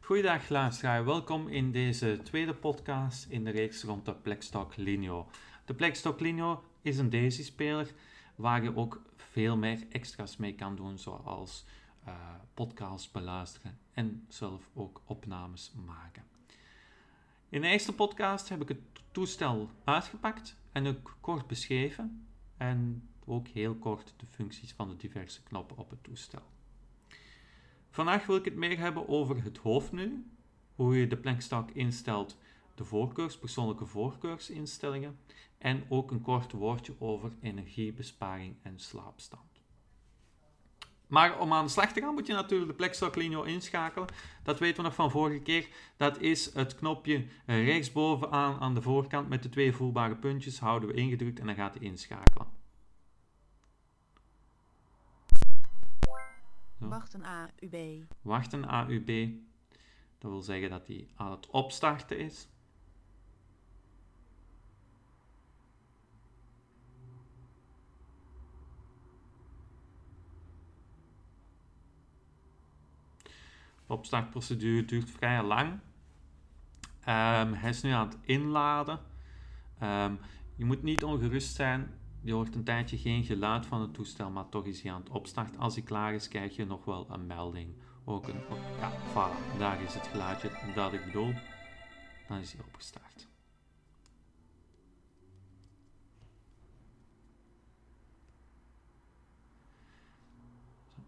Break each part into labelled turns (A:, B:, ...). A: Goeiedag luisteraar, welkom in deze tweede podcast in de reeks rond de Blackstock Linio. De Blackstock Linio is een Daisy-speler waar je ook veel meer extra's mee kan doen, zoals eh, podcasts beluisteren en zelf ook opnames maken. In de eerste podcast heb ik het toestel uitgepakt en ook kort beschreven en ook heel kort de functies van de diverse knoppen op het toestel. Vandaag wil ik het meer hebben over het hoofdmenu, hoe je de plankstack instelt, de voorkeurs, persoonlijke voorkeursinstellingen en ook een kort woordje over energiebesparing en slaapstand. Maar om aan de slag te gaan moet je natuurlijk de plankstack linio inschakelen. Dat weten we nog van vorige keer. Dat is het knopje eh, rechtsbovenaan aan de voorkant met de twee voelbare puntjes houden we ingedrukt en dan gaat hij inschakelen. Ja.
B: Wacht een A, U, B.
A: wachten AUB. Dat wil zeggen dat die aan het opstarten is. De opstartprocedure duurt vrij lang. Ehm, hij is nu aan het inladen. Ehm, je moet niet ongerust zijn. Je hoort een tijdje geen geluid van het toestel, maar toch is hij aan het opstarten. Als hij klaar is, krijg je nog wel een melding. Ook een... oh, Ja, voilà. Daar is het geluidje dat ik bedoel. Dan is hij opgestart. Zo.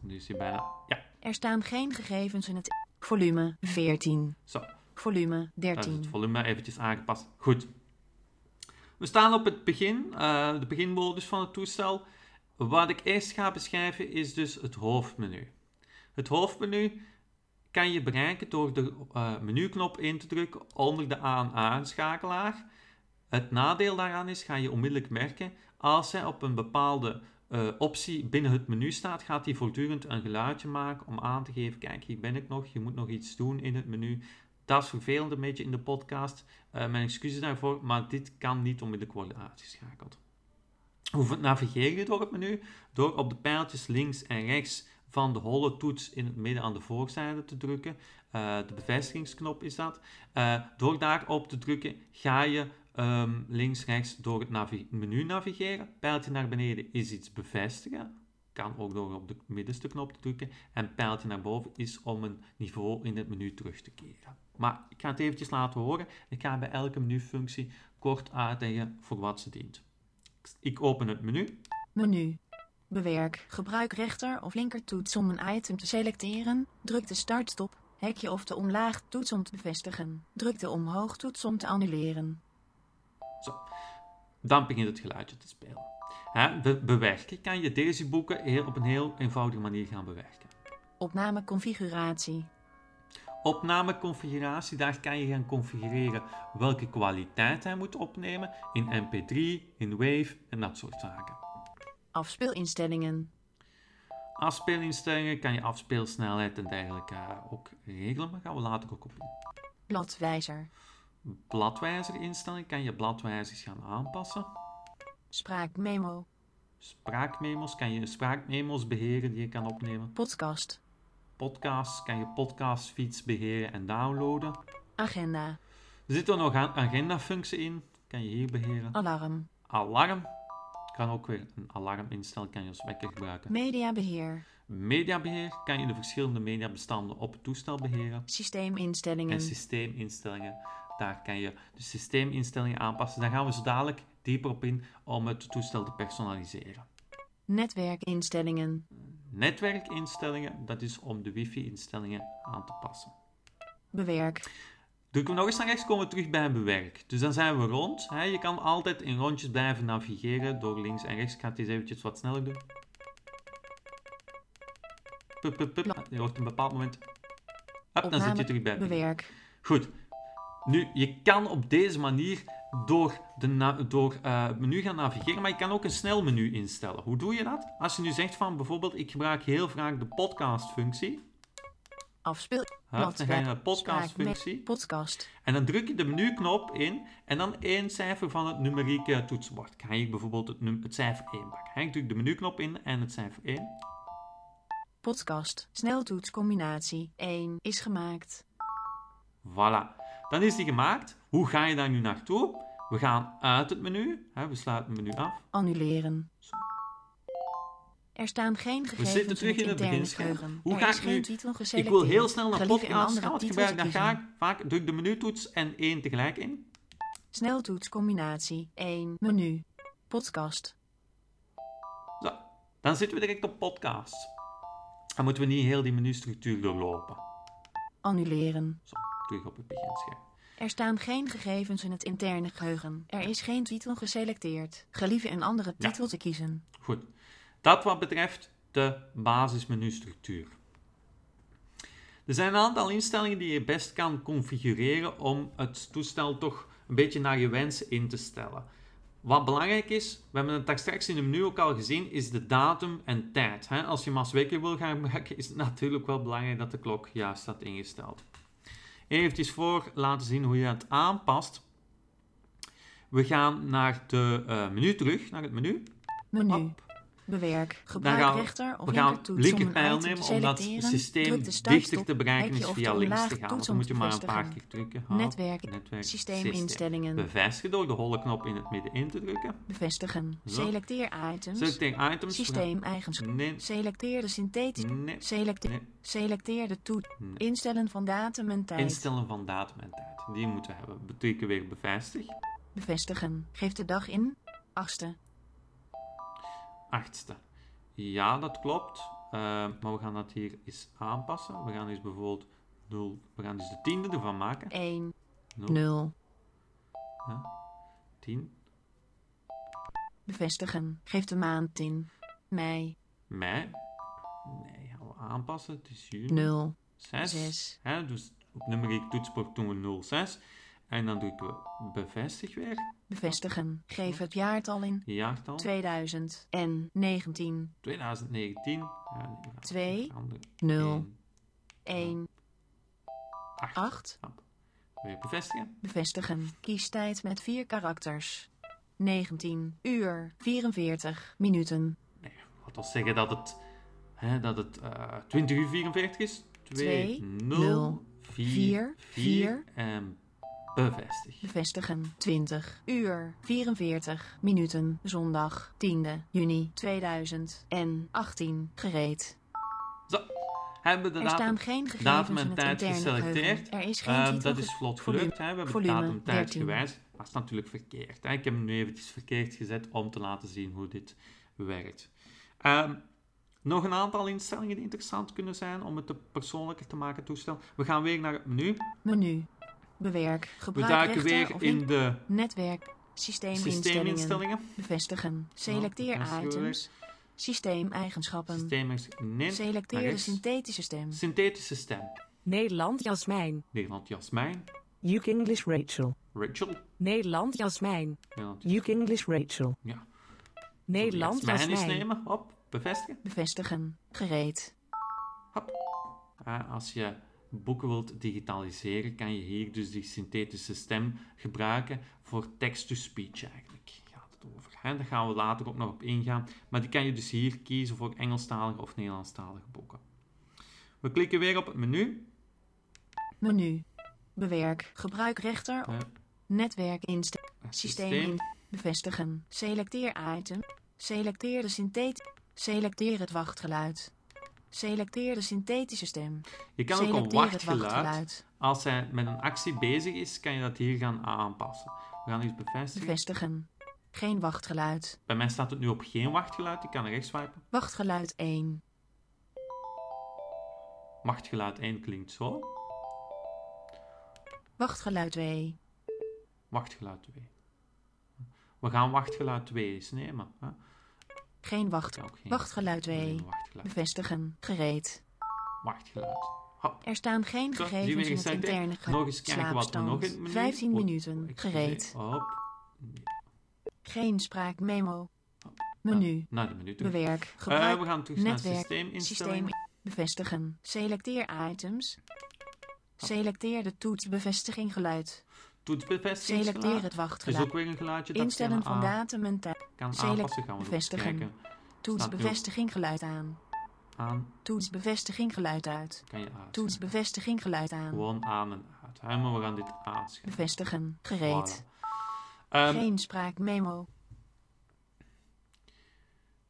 A: Nu is hij bijna... Ja,
B: Er staan geen gegevens in het volume 14,
A: zo.
B: volume
A: Daar is
B: 13.
A: Eh, het volume eventjes aangepast. Goed. We staan op het begin, eh, de beginmodus van het toestel. Wat ik eerst ga beschrijven is dus het hoofdmenu. Het hoofdmenu kan je bereiken door de eh, menuknop in te drukken onder de aan-aanschakelaar. Het nadeel daaraan is, ga je onmiddellijk merken, als hij op een bepaalde eh, optie binnen het menu staat, gaat hij voortdurend een geluidje maken om aan te geven, kijk, hier ben ik nog, je moet nog iets doen in het menu. Dat is vervelend een beetje in de podcast. Eh, mijn excuses daarvoor, maar dit kan niet onmiddellijk worden uitgeschakeld. Hoe navigeer je door het menu? Door op de pijltjes links en rechts van de holle toets in het midden aan de voorzijde te drukken. Eh, de bevestigingsknop is dat. Eh, door daarop te drukken ga je ehm, links-rechts door het navi- menu navigeren. Pijltje naar beneden is iets bevestigen. Kan ook door op de middenste knop te drukken. En pijltje naar boven is om een niveau in het menu terug te keren. Maar ik ga het eventjes laten horen. Ik ga bij elke menufunctie kort uitleggen voor wat ze dient. Ik open het menu.
B: Menu. Bewerk. Gebruik rechter of linker toets om een item te selecteren. Druk de startstop. Hekje of de omlaag toets om te bevestigen. Druk de omhoog toets om te annuleren.
A: Dan begint het geluidje te spelen. Hè, be- bewerken kan je deze boeken heel, op een heel eenvoudige manier gaan bewerken.
B: Opname configuratie.
A: Opnameconfiguratie, daar kan je gaan configureren welke kwaliteit hij moet opnemen in MP3, in WAV en dat soort zaken.
B: Afspeelinstellingen.
A: Afspeelinstellingen kan je afspeelsnelheid en dergelijke ook regelen, maar gaan we later ook op in.
B: Bladwijzer.
A: Bladwijzerinstellingen kan je bladwijzers gaan aanpassen.
B: Spraakmemo.
A: Spraakmemo's kan je spraakmemo's beheren die je kan opnemen.
B: Podcast.
A: Podcasts kan je podcastfeeds beheren en downloaden.
B: Agenda.
A: Er zit er nog een agenda-functie in, kan je hier beheren.
B: Alarm.
A: Alarm, kan ook weer een alarm instellen, kan je als wekker gebruiken.
B: Mediabeheer.
A: Mediabeheer, kan je de verschillende mediabestanden op het toestel beheren.
B: Systeeminstellingen.
A: En systeeminstellingen, daar kan je de systeeminstellingen aanpassen. Daar gaan we zo dadelijk dieper op in om het toestel te personaliseren.
B: Netwerkinstellingen.
A: Netwerkinstellingen, dat is om de wifi-instellingen aan te passen.
B: Bewerk.
A: Drukken we nog eens naar rechts, komen we terug bij bewerk. Dus dan zijn we rond. Hè. Je kan altijd in rondjes blijven navigeren door links en rechts. Ik ga het eens eventjes wat sneller doen. Pup, pup, pup. Je hoort een bepaald moment. Hop, dan zit je terug bij bewerk.
B: Bewerk.
A: Goed. Nu, je kan op deze manier door, de na- door eh, het menu gaan navigeren, maar je kan ook een snel menu instellen. Hoe doe je dat? Als je nu zegt van bijvoorbeeld, ik gebruik heel vaak de podcastfunctie.
B: Afspeel.
A: Hup, Dan ga je naar de
B: Spraakme-
A: podcastfunctie.
B: Podcast.
A: En dan druk je de menuknop in en dan één cijfer van het numerieke eh, toetsenbord. Ik ga hier bijvoorbeeld het, num- het cijfer 1 pakken. hè. Ik druk de menuknop in en het cijfer 1.
B: podcast, sneltoetscombinatie 1 is gemaakt.
A: Voilà. Dan is die gemaakt. Hoe ga je daar nu naartoe? We gaan uit het menu. Hè, we sluiten het menu af.
B: Annuleren.
A: Zo.
B: Er staan geen gegevens
A: zitten terug
B: het
A: in het
B: interne Oh,
A: beginscherm.
B: geheugen.
A: Hoe
B: er
A: ga
B: is
A: ik
B: geen
A: nu-
B: titel
A: Ik
B: geselecteerd.
A: wil heel snel naar
B: Gelieve een
A: podcast
B: andere
A: gaan. Wat
B: titels
A: gebruik ik? Daar ga ik
B: kiezen.
A: vaak druk ik de menutoets en één tegelijk in.
B: Sneltoetscombinatie 1 menu. Podcast.
A: Zo. Dan zitten we direct op podcast. Dan moeten we niet heel die menustructuur doorlopen.
B: Annuleren.
A: Zo, terug op het beginscherm.
B: Er staan geen gegevens in het interne geheugen. Er is geen titel geselecteerd. Gelieve een andere
A: Ja.
B: titel te kiezen.
A: Goed. Dat wat betreft de basismenustructuur. Er zijn een aantal instellingen die je best kan configureren om het toestel toch een beetje naar je wens in te stellen. Wat belangrijk is, we hebben het daar straks in het menu ook al gezien, is de datum en tijd. hè. Als je hem als wekker wil gaan gebruiken, is het natuurlijk wel belangrijk dat de klok juist staat ingesteld. Even voor laten zien hoe je het aanpast. We gaan naar de eh, menu terug, naar het menu.
B: Menu.
A: Hop.
B: Bewerk. Gebruik
A: gaan Nou, we-
B: rechter of
A: We gaan
B: linkertoets om een
A: linkerpijl
B: item te
A: nemen om dat
B: selecteren.
A: systeem
B: Druk de startstop,
A: dichter te bereiken
B: hekje
A: is
B: of
A: via
B: de
A: links te
B: omlaag
A: gaan.
B: toets
A: Want
B: om
A: dan moet je
B: te
A: maar een paar
B: bevestigen.
A: keer drukken. Hop,
B: Netwerk,
A: netwerk,
B: systeeminstellingen.
A: Bevestigen door de holle knop in het midden in te drukken.
B: Bevestigen.
A: Zo.
B: Selecteer items.
A: Selecteer items.
B: Systeemeigenschappen.
A: Nee,
B: Selecteer de synthetische.
A: nee,
B: Selecteer,
A: nee.
B: selecteer de toets.
A: Nee.
B: Instellen van datum en tijd.
A: Instellen van datum en tijd. Die moeten we hebben. Betrekken weer bevestig.
B: Bevestigen. Geef de dag in. Achtste.
A: Achtste. Ja, dat klopt. Eh, maar we gaan dat hier eens aanpassen. We gaan eens bijvoorbeeld 0. We gaan dus de tiende ervan maken.
B: 1.
A: Nul.
B: 0.
A: 10
B: Bevestigen. Geef de maand in. Mei.
A: mei. Nee, gaan we aanpassen. Het is juni.
B: 0.
A: 6.
B: Zes.
A: Hè, dus op nummer toetsenbord doen we 06. En dan drukken we bevestig weer.
B: Bevestigen. Geef het jaartal in.
A: Jaartal
B: 2019.
A: 2019. Ja, nee, we gaan-
B: Twee.
A: we gaan er
B: 0.
A: één,
B: 1.
A: acht.
B: 8.
A: Knap. Weer bevestigen.
B: Bevestigen. Kies tijd met 4 karakters. 19 uur 44 minuten.
A: Nee, laat ons zeggen dat het, hè, dat het eh 20 uur 44 is. 2,
B: Twee,
A: 0,
B: nul,
A: 4,
B: vier,
A: 4
B: vier.
A: en bevestig.
B: Bevestigen. 20 uur 44 minuten. Zondag 10 juni 2018. Gereed.
A: Zo, hebben we de
B: Er
A: datum.
B: staan geen
A: datum
B: gegevens in
A: en
B: het
A: tijd
B: interne
A: geselecteerd.
B: geheugen. Er is geen
A: Eh,
B: titel
A: dat
B: ge-
A: is vlot
B: volume-
A: gelukt. Hè? We hebben de
B: volume
A: datum tijd
B: 13.
A: gewijzigd. Dat is natuurlijk verkeerd. Hè? Ik heb hem nu eventjes verkeerd gezet om te laten zien hoe dit werkt. Ehm, nog een aantal instellingen die interessant kunnen zijn om het te persoonlijker te maken toestel. We gaan weer naar het menu.
B: Menu. Bewerk.
A: We
B: Gebruik
A: duiken
B: rechter
A: weer
B: of
A: in
B: link-
A: de
B: netwerk. Systeeminstellingen.
A: systeeminstellingen.
B: Bevestigen. Selecteer
A: dat is goed.
B: items. Systeemeigenschappen.
A: Systemers, nee, naar
B: Selecteer de
A: rechts.
B: synthetische stem.
A: synthetische stem.
C: Nederland Jasmijn.
A: Nederland Jasmijn,
C: UK English Rachel.
A: Rachel.
C: Nederland Jasmijn.
A: Nederland,
C: UK English Rachel.
A: ja.
C: Nederland
A: Jasmijn eens
C: Jasmijn.
A: nemen. Hop, bevestigen.
B: Bevestigen. Gereed.
A: Ja, Ah, als je boeken wilt digitaliseren, kan je hier dus die synthetische stem gebruiken voor text-to-speech eigenlijk. Gaat het over. Hè? Daar gaan we later ook nog op ingaan. Maar die kan je dus hier kiezen voor Engelstalige of Nederlandstalige boeken. We klikken weer op het menu.
B: Menu. Bewerk. Gebruik rechter.
A: Ja.
B: Netwerk inst. Systeem.
A: Systeem.
B: Bevestigen. Selecteer item. Selecteer de synthet. Selecteer het wachtgeluid. Selecteer de synthetische stem.
A: Je kan ook een
B: Selecteer het
A: wachtgeluid.
B: wachtgeluid.
A: Als hij met een actie bezig is, kan je dat hier gaan aanpassen. We gaan eens bevestigen.
B: Bevestigen. Geen wachtgeluid.
A: Bij mij staat het nu op geen wachtgeluid. Ik kan naar rechts swipen.
B: Wachtgeluid 1.
A: Wachtgeluid 1 klinkt zo.
B: Wachtgeluid 2.
A: Wachtgeluid 2. We gaan wachtgeluid 2 eens nemen. Hè?
B: Geen wacht.
A: Kan ook geen-
B: Wachtgeluid
A: Nee,
B: 2.
A: Wachtgeluid.
B: Bevestigen. Gereed.
A: Wachtgeluid. Hop.
B: Er staan geen
A: Zo, die
B: gegevens in het
A: wegen zijn
B: interne
A: dicht. Nog eens kijken wat we nog in het
B: slaapstand.
A: menu...
B: 15
A: Oh,
B: minuten.
A: excuseer.
B: Gereed.
A: Hop.
B: Geen spraakmemo. Menu.
A: Nou, Naar de menu toe.
B: Bewerk.
A: Oh, Eh,
B: Gebruik.
A: we gaan terug naar
B: Netwerk. Systeem.
A: systeeminstellingen.
B: Bevestigen. Selecteer items.
A: Oh.
B: Selecteer de toets bevestiging geluid.
A: Toetsbevestigingsgeluid.
B: Selecteer het
A: is
B: wachtgeluid.
A: ook weer een geluidje dat je
B: Instellen
A: aan-
B: van datum en tijd.
A: kan
B: Select-
A: aanpassen. Gaan we nog eens
B: bevestigen.
A: kijken.
B: Toets
A: Staat nu op.
B: bevestiging geluid aan.
A: aan,
B: Toets bevestiging geluid uit.
A: kan je uit.
B: Toets bevestiging geluid aan.
A: Gewoon aan en uit. Hè, maar we gaan dit aanschrijven.
B: Bevestigen. Gereed.
A: Voilà. Ehm,
B: Geen spraakmemo.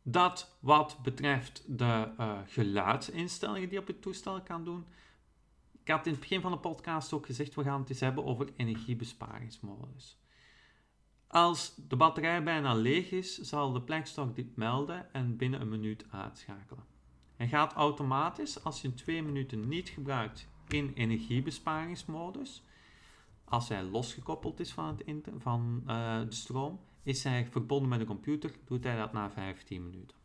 A: Dat wat betreft de eh, geluidsinstellingen die je op het toestel kan doen. Ik had in het begin van de podcast ook gezegd, we gaan het eens hebben over energiebesparingsmodus. Als de batterij bijna leeg is, zal de plekstok dit melden en binnen een minuut uitschakelen. Hij gaat automatisch, als je hem twee minuten niet gebruikt, in energiebesparingsmodus. Als hij losgekoppeld is van, het inter- van eh, de stroom, is hij verbonden met de computer, doet hij dat na 15 minuten.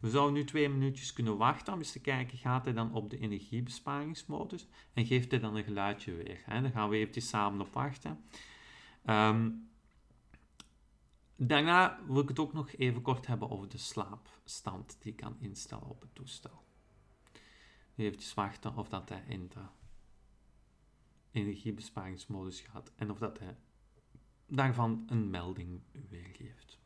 A: We zouden nu twee minuutjes kunnen wachten om eens te kijken, gaat hij dan op de energiebesparingsmodus en geeft hij dan een geluidje weer. Hè? Daar gaan we eventjes samen op wachten. Ehm, daarna wil ik het ook nog even kort hebben over de slaapstand die ik kan instellen op het toestel. Eventjes wachten of dat hij in de energiebesparingsmodus gaat en of dat hij daarvan een melding weergeeft.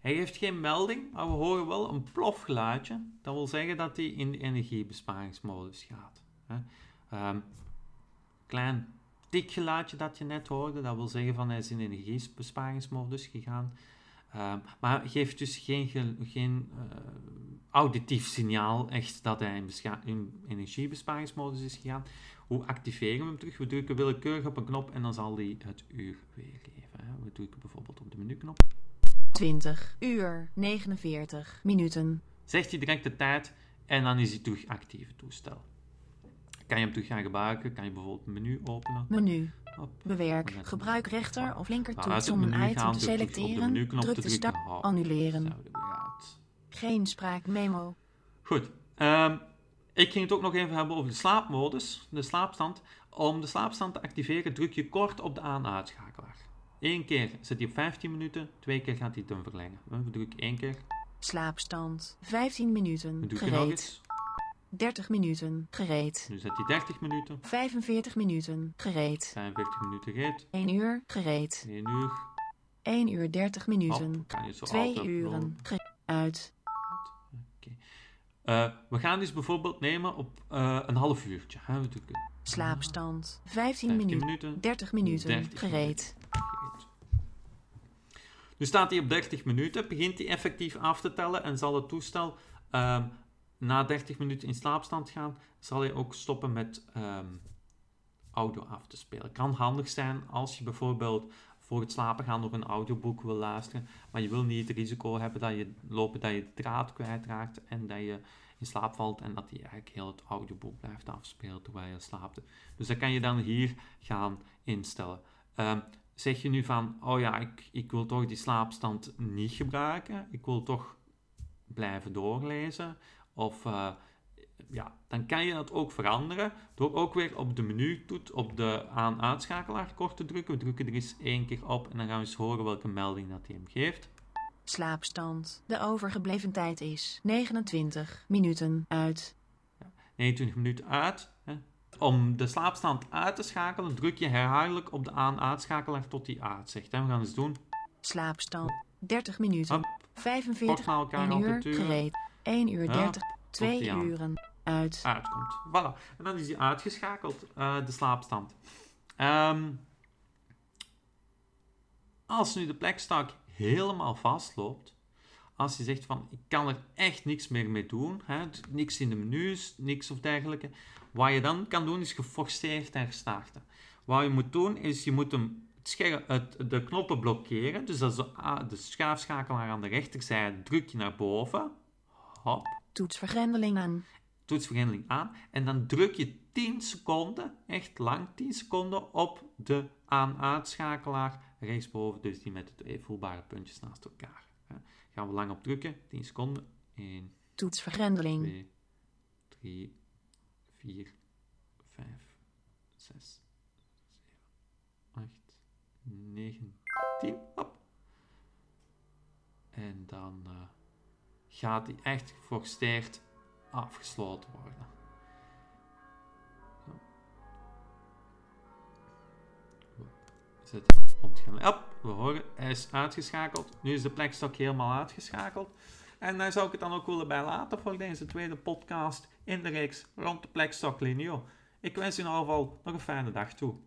A: Hij geeft geen melding, maar we horen wel een plofgeluidje. Dat wil zeggen dat hij in de energiebesparingsmodus gaat. hè. Ehm, klein tik geluidje dat je net hoorde, dat wil zeggen van hij is in energiebesparingsmodus gegaan. Ehm, maar geeft dus geen, ge- geen eh, auditief signaal echt dat hij in, bescha- in energiebesparingsmodus is gegaan. Hoe activeren we hem terug? We drukken willekeurig op een knop en dan zal hij het uur weergeven. Hè. We drukken bijvoorbeeld op de menuknop.
B: 20 uur 49 minuten.
A: Zegt hij direct de tijd en dan is hij terug actief het toestel. Kan je hem terug gaan gebruiken? Kan je bijvoorbeeld het menu openen?
B: Menu.
A: Hop.
B: Bewerk.
A: We gaan-
B: Gebruik rechter of linker
A: Nou, uit
B: toets
A: het
B: om een
A: menu
B: item
A: gaan,
B: te
A: druk terug op de
B: selecteren.
A: menuknop
B: Druk
A: te
B: de
A: drukken. Oh.
B: start.
A: Hop,
B: Annuleren.
A: zijn we er weer uit.
B: Geen spraakmemo.
A: Goed. ehm, ik ging het ook nog even hebben over de slaapmodus, de slaapstand. Om de slaapstand te activeren druk je kort op de aan-uitschakelaar. Eén keer zit hij op 15 minuten, twee keer gaat hij het dan verlengen. We drukken één keer,
B: Slaapstand. 15
A: we
B: minuten.
A: drukken nog
B: Gereed.
A: eens.
B: 30 minuten. Gereed.
A: Nu zit hij 30 minuten,
B: 45 minuten. Gereed.
A: 45 minuten reed,
B: 1 uur. Gereed.
A: 1 uur,
B: 1 uur 30 minuten.
A: hop, kan je Oh, zo
B: 2
A: altijd
B: uren.
A: doen.
B: Ge- uit.
A: Eh, we gaan dus bijvoorbeeld nemen op eh, een half uurtje. hè. We drukken
B: Slaapstand. 15
A: 15
B: minuten.
A: minuten,
B: 30 minuten.
A: 30
B: Gereed.
A: Goed. Nu staat hij op 30 minuten, begint hij effectief af te tellen en zal het toestel ehm, na 30 minuten in slaapstand gaan, zal hij ook stoppen met ehm, audio af te spelen. Kan handig zijn als je bijvoorbeeld voor het slapen gaan nog een audioboek wil luisteren, maar je wil niet het risico hebben dat je lopen dat je de draad kwijtraakt en dat je in slaap valt en dat hij eigenlijk heel het audioboek blijft afspelen terwijl je slaapt. Dus dat kan je dan hier gaan instellen. Ehm, zeg je nu van, oh ja, ik, ik wil toch die slaapstand niet gebruiken, ik wil toch blijven doorlezen, of eh, ja, dan kan je dat ook veranderen door ook weer op de menu toet, op de aan-uitschakelaar kort te drukken. We drukken er eens één keer op en dan gaan we eens horen welke melding dat hij hem geeft.
B: Slaapstand. De overgebleven tijd is 29 minuten. Uit.
A: 29 minuten uit. Hè. Om de slaapstand uit te schakelen, druk je herhaaldelijk op de aan-uitschakelaar tot die uit zegt. Hè. We gaan eens doen.
B: Slaapstand. 30 minuten.
A: Hop. Kort
B: 45.
A: naar elkaar
B: 1 uur.
A: altijd
B: Gereed. 1 uur
A: Ja,
B: 30.
A: tot
B: 2
A: die aan.
B: uren. Uit.
A: uitkomt. Voilà. En dan is die uitgeschakeld, eh, de slaapstand. Ehm, als nu de plekstak helemaal vastloopt, als je zegt van ik kan er echt niks meer mee doen, hè, d- niks in de menus, niks of dergelijke, wat je dan kan doen is geforceerd herstarten. Wat je moet doen is je moet hem het scher- het, de knoppen blokkeren, dus dat is de, a- de schuifschakelaar aan de rechterzijde druk je naar boven. Hop
B: Toets vergrendeling aan.
A: toetsvergrendeling aan en dan druk je 10 seconden, echt lang 10 seconden, op de aan-uitschakelaar rechtsboven, dus die met de twee voelbare puntjes naast elkaar. hè. Gaan we lang op drukken, 10 seconden, 1,
B: Toets vergrendeling.
A: 2, 3, 4, 5, 6, 7, 8, 9, 10. Hop. En dan eh, gaat die echt geforceerd afgesloten worden. Zo. zit ontgaan. Hop, we horen, hij is uitgeschakeld. Nu is de plekstok helemaal uitgeschakeld. En daar zou ik het dan ook willen bij laten voor deze tweede podcast in de reeks rond de plekstok Linio. Ik wens u in ieder geval nog een fijne dag toe.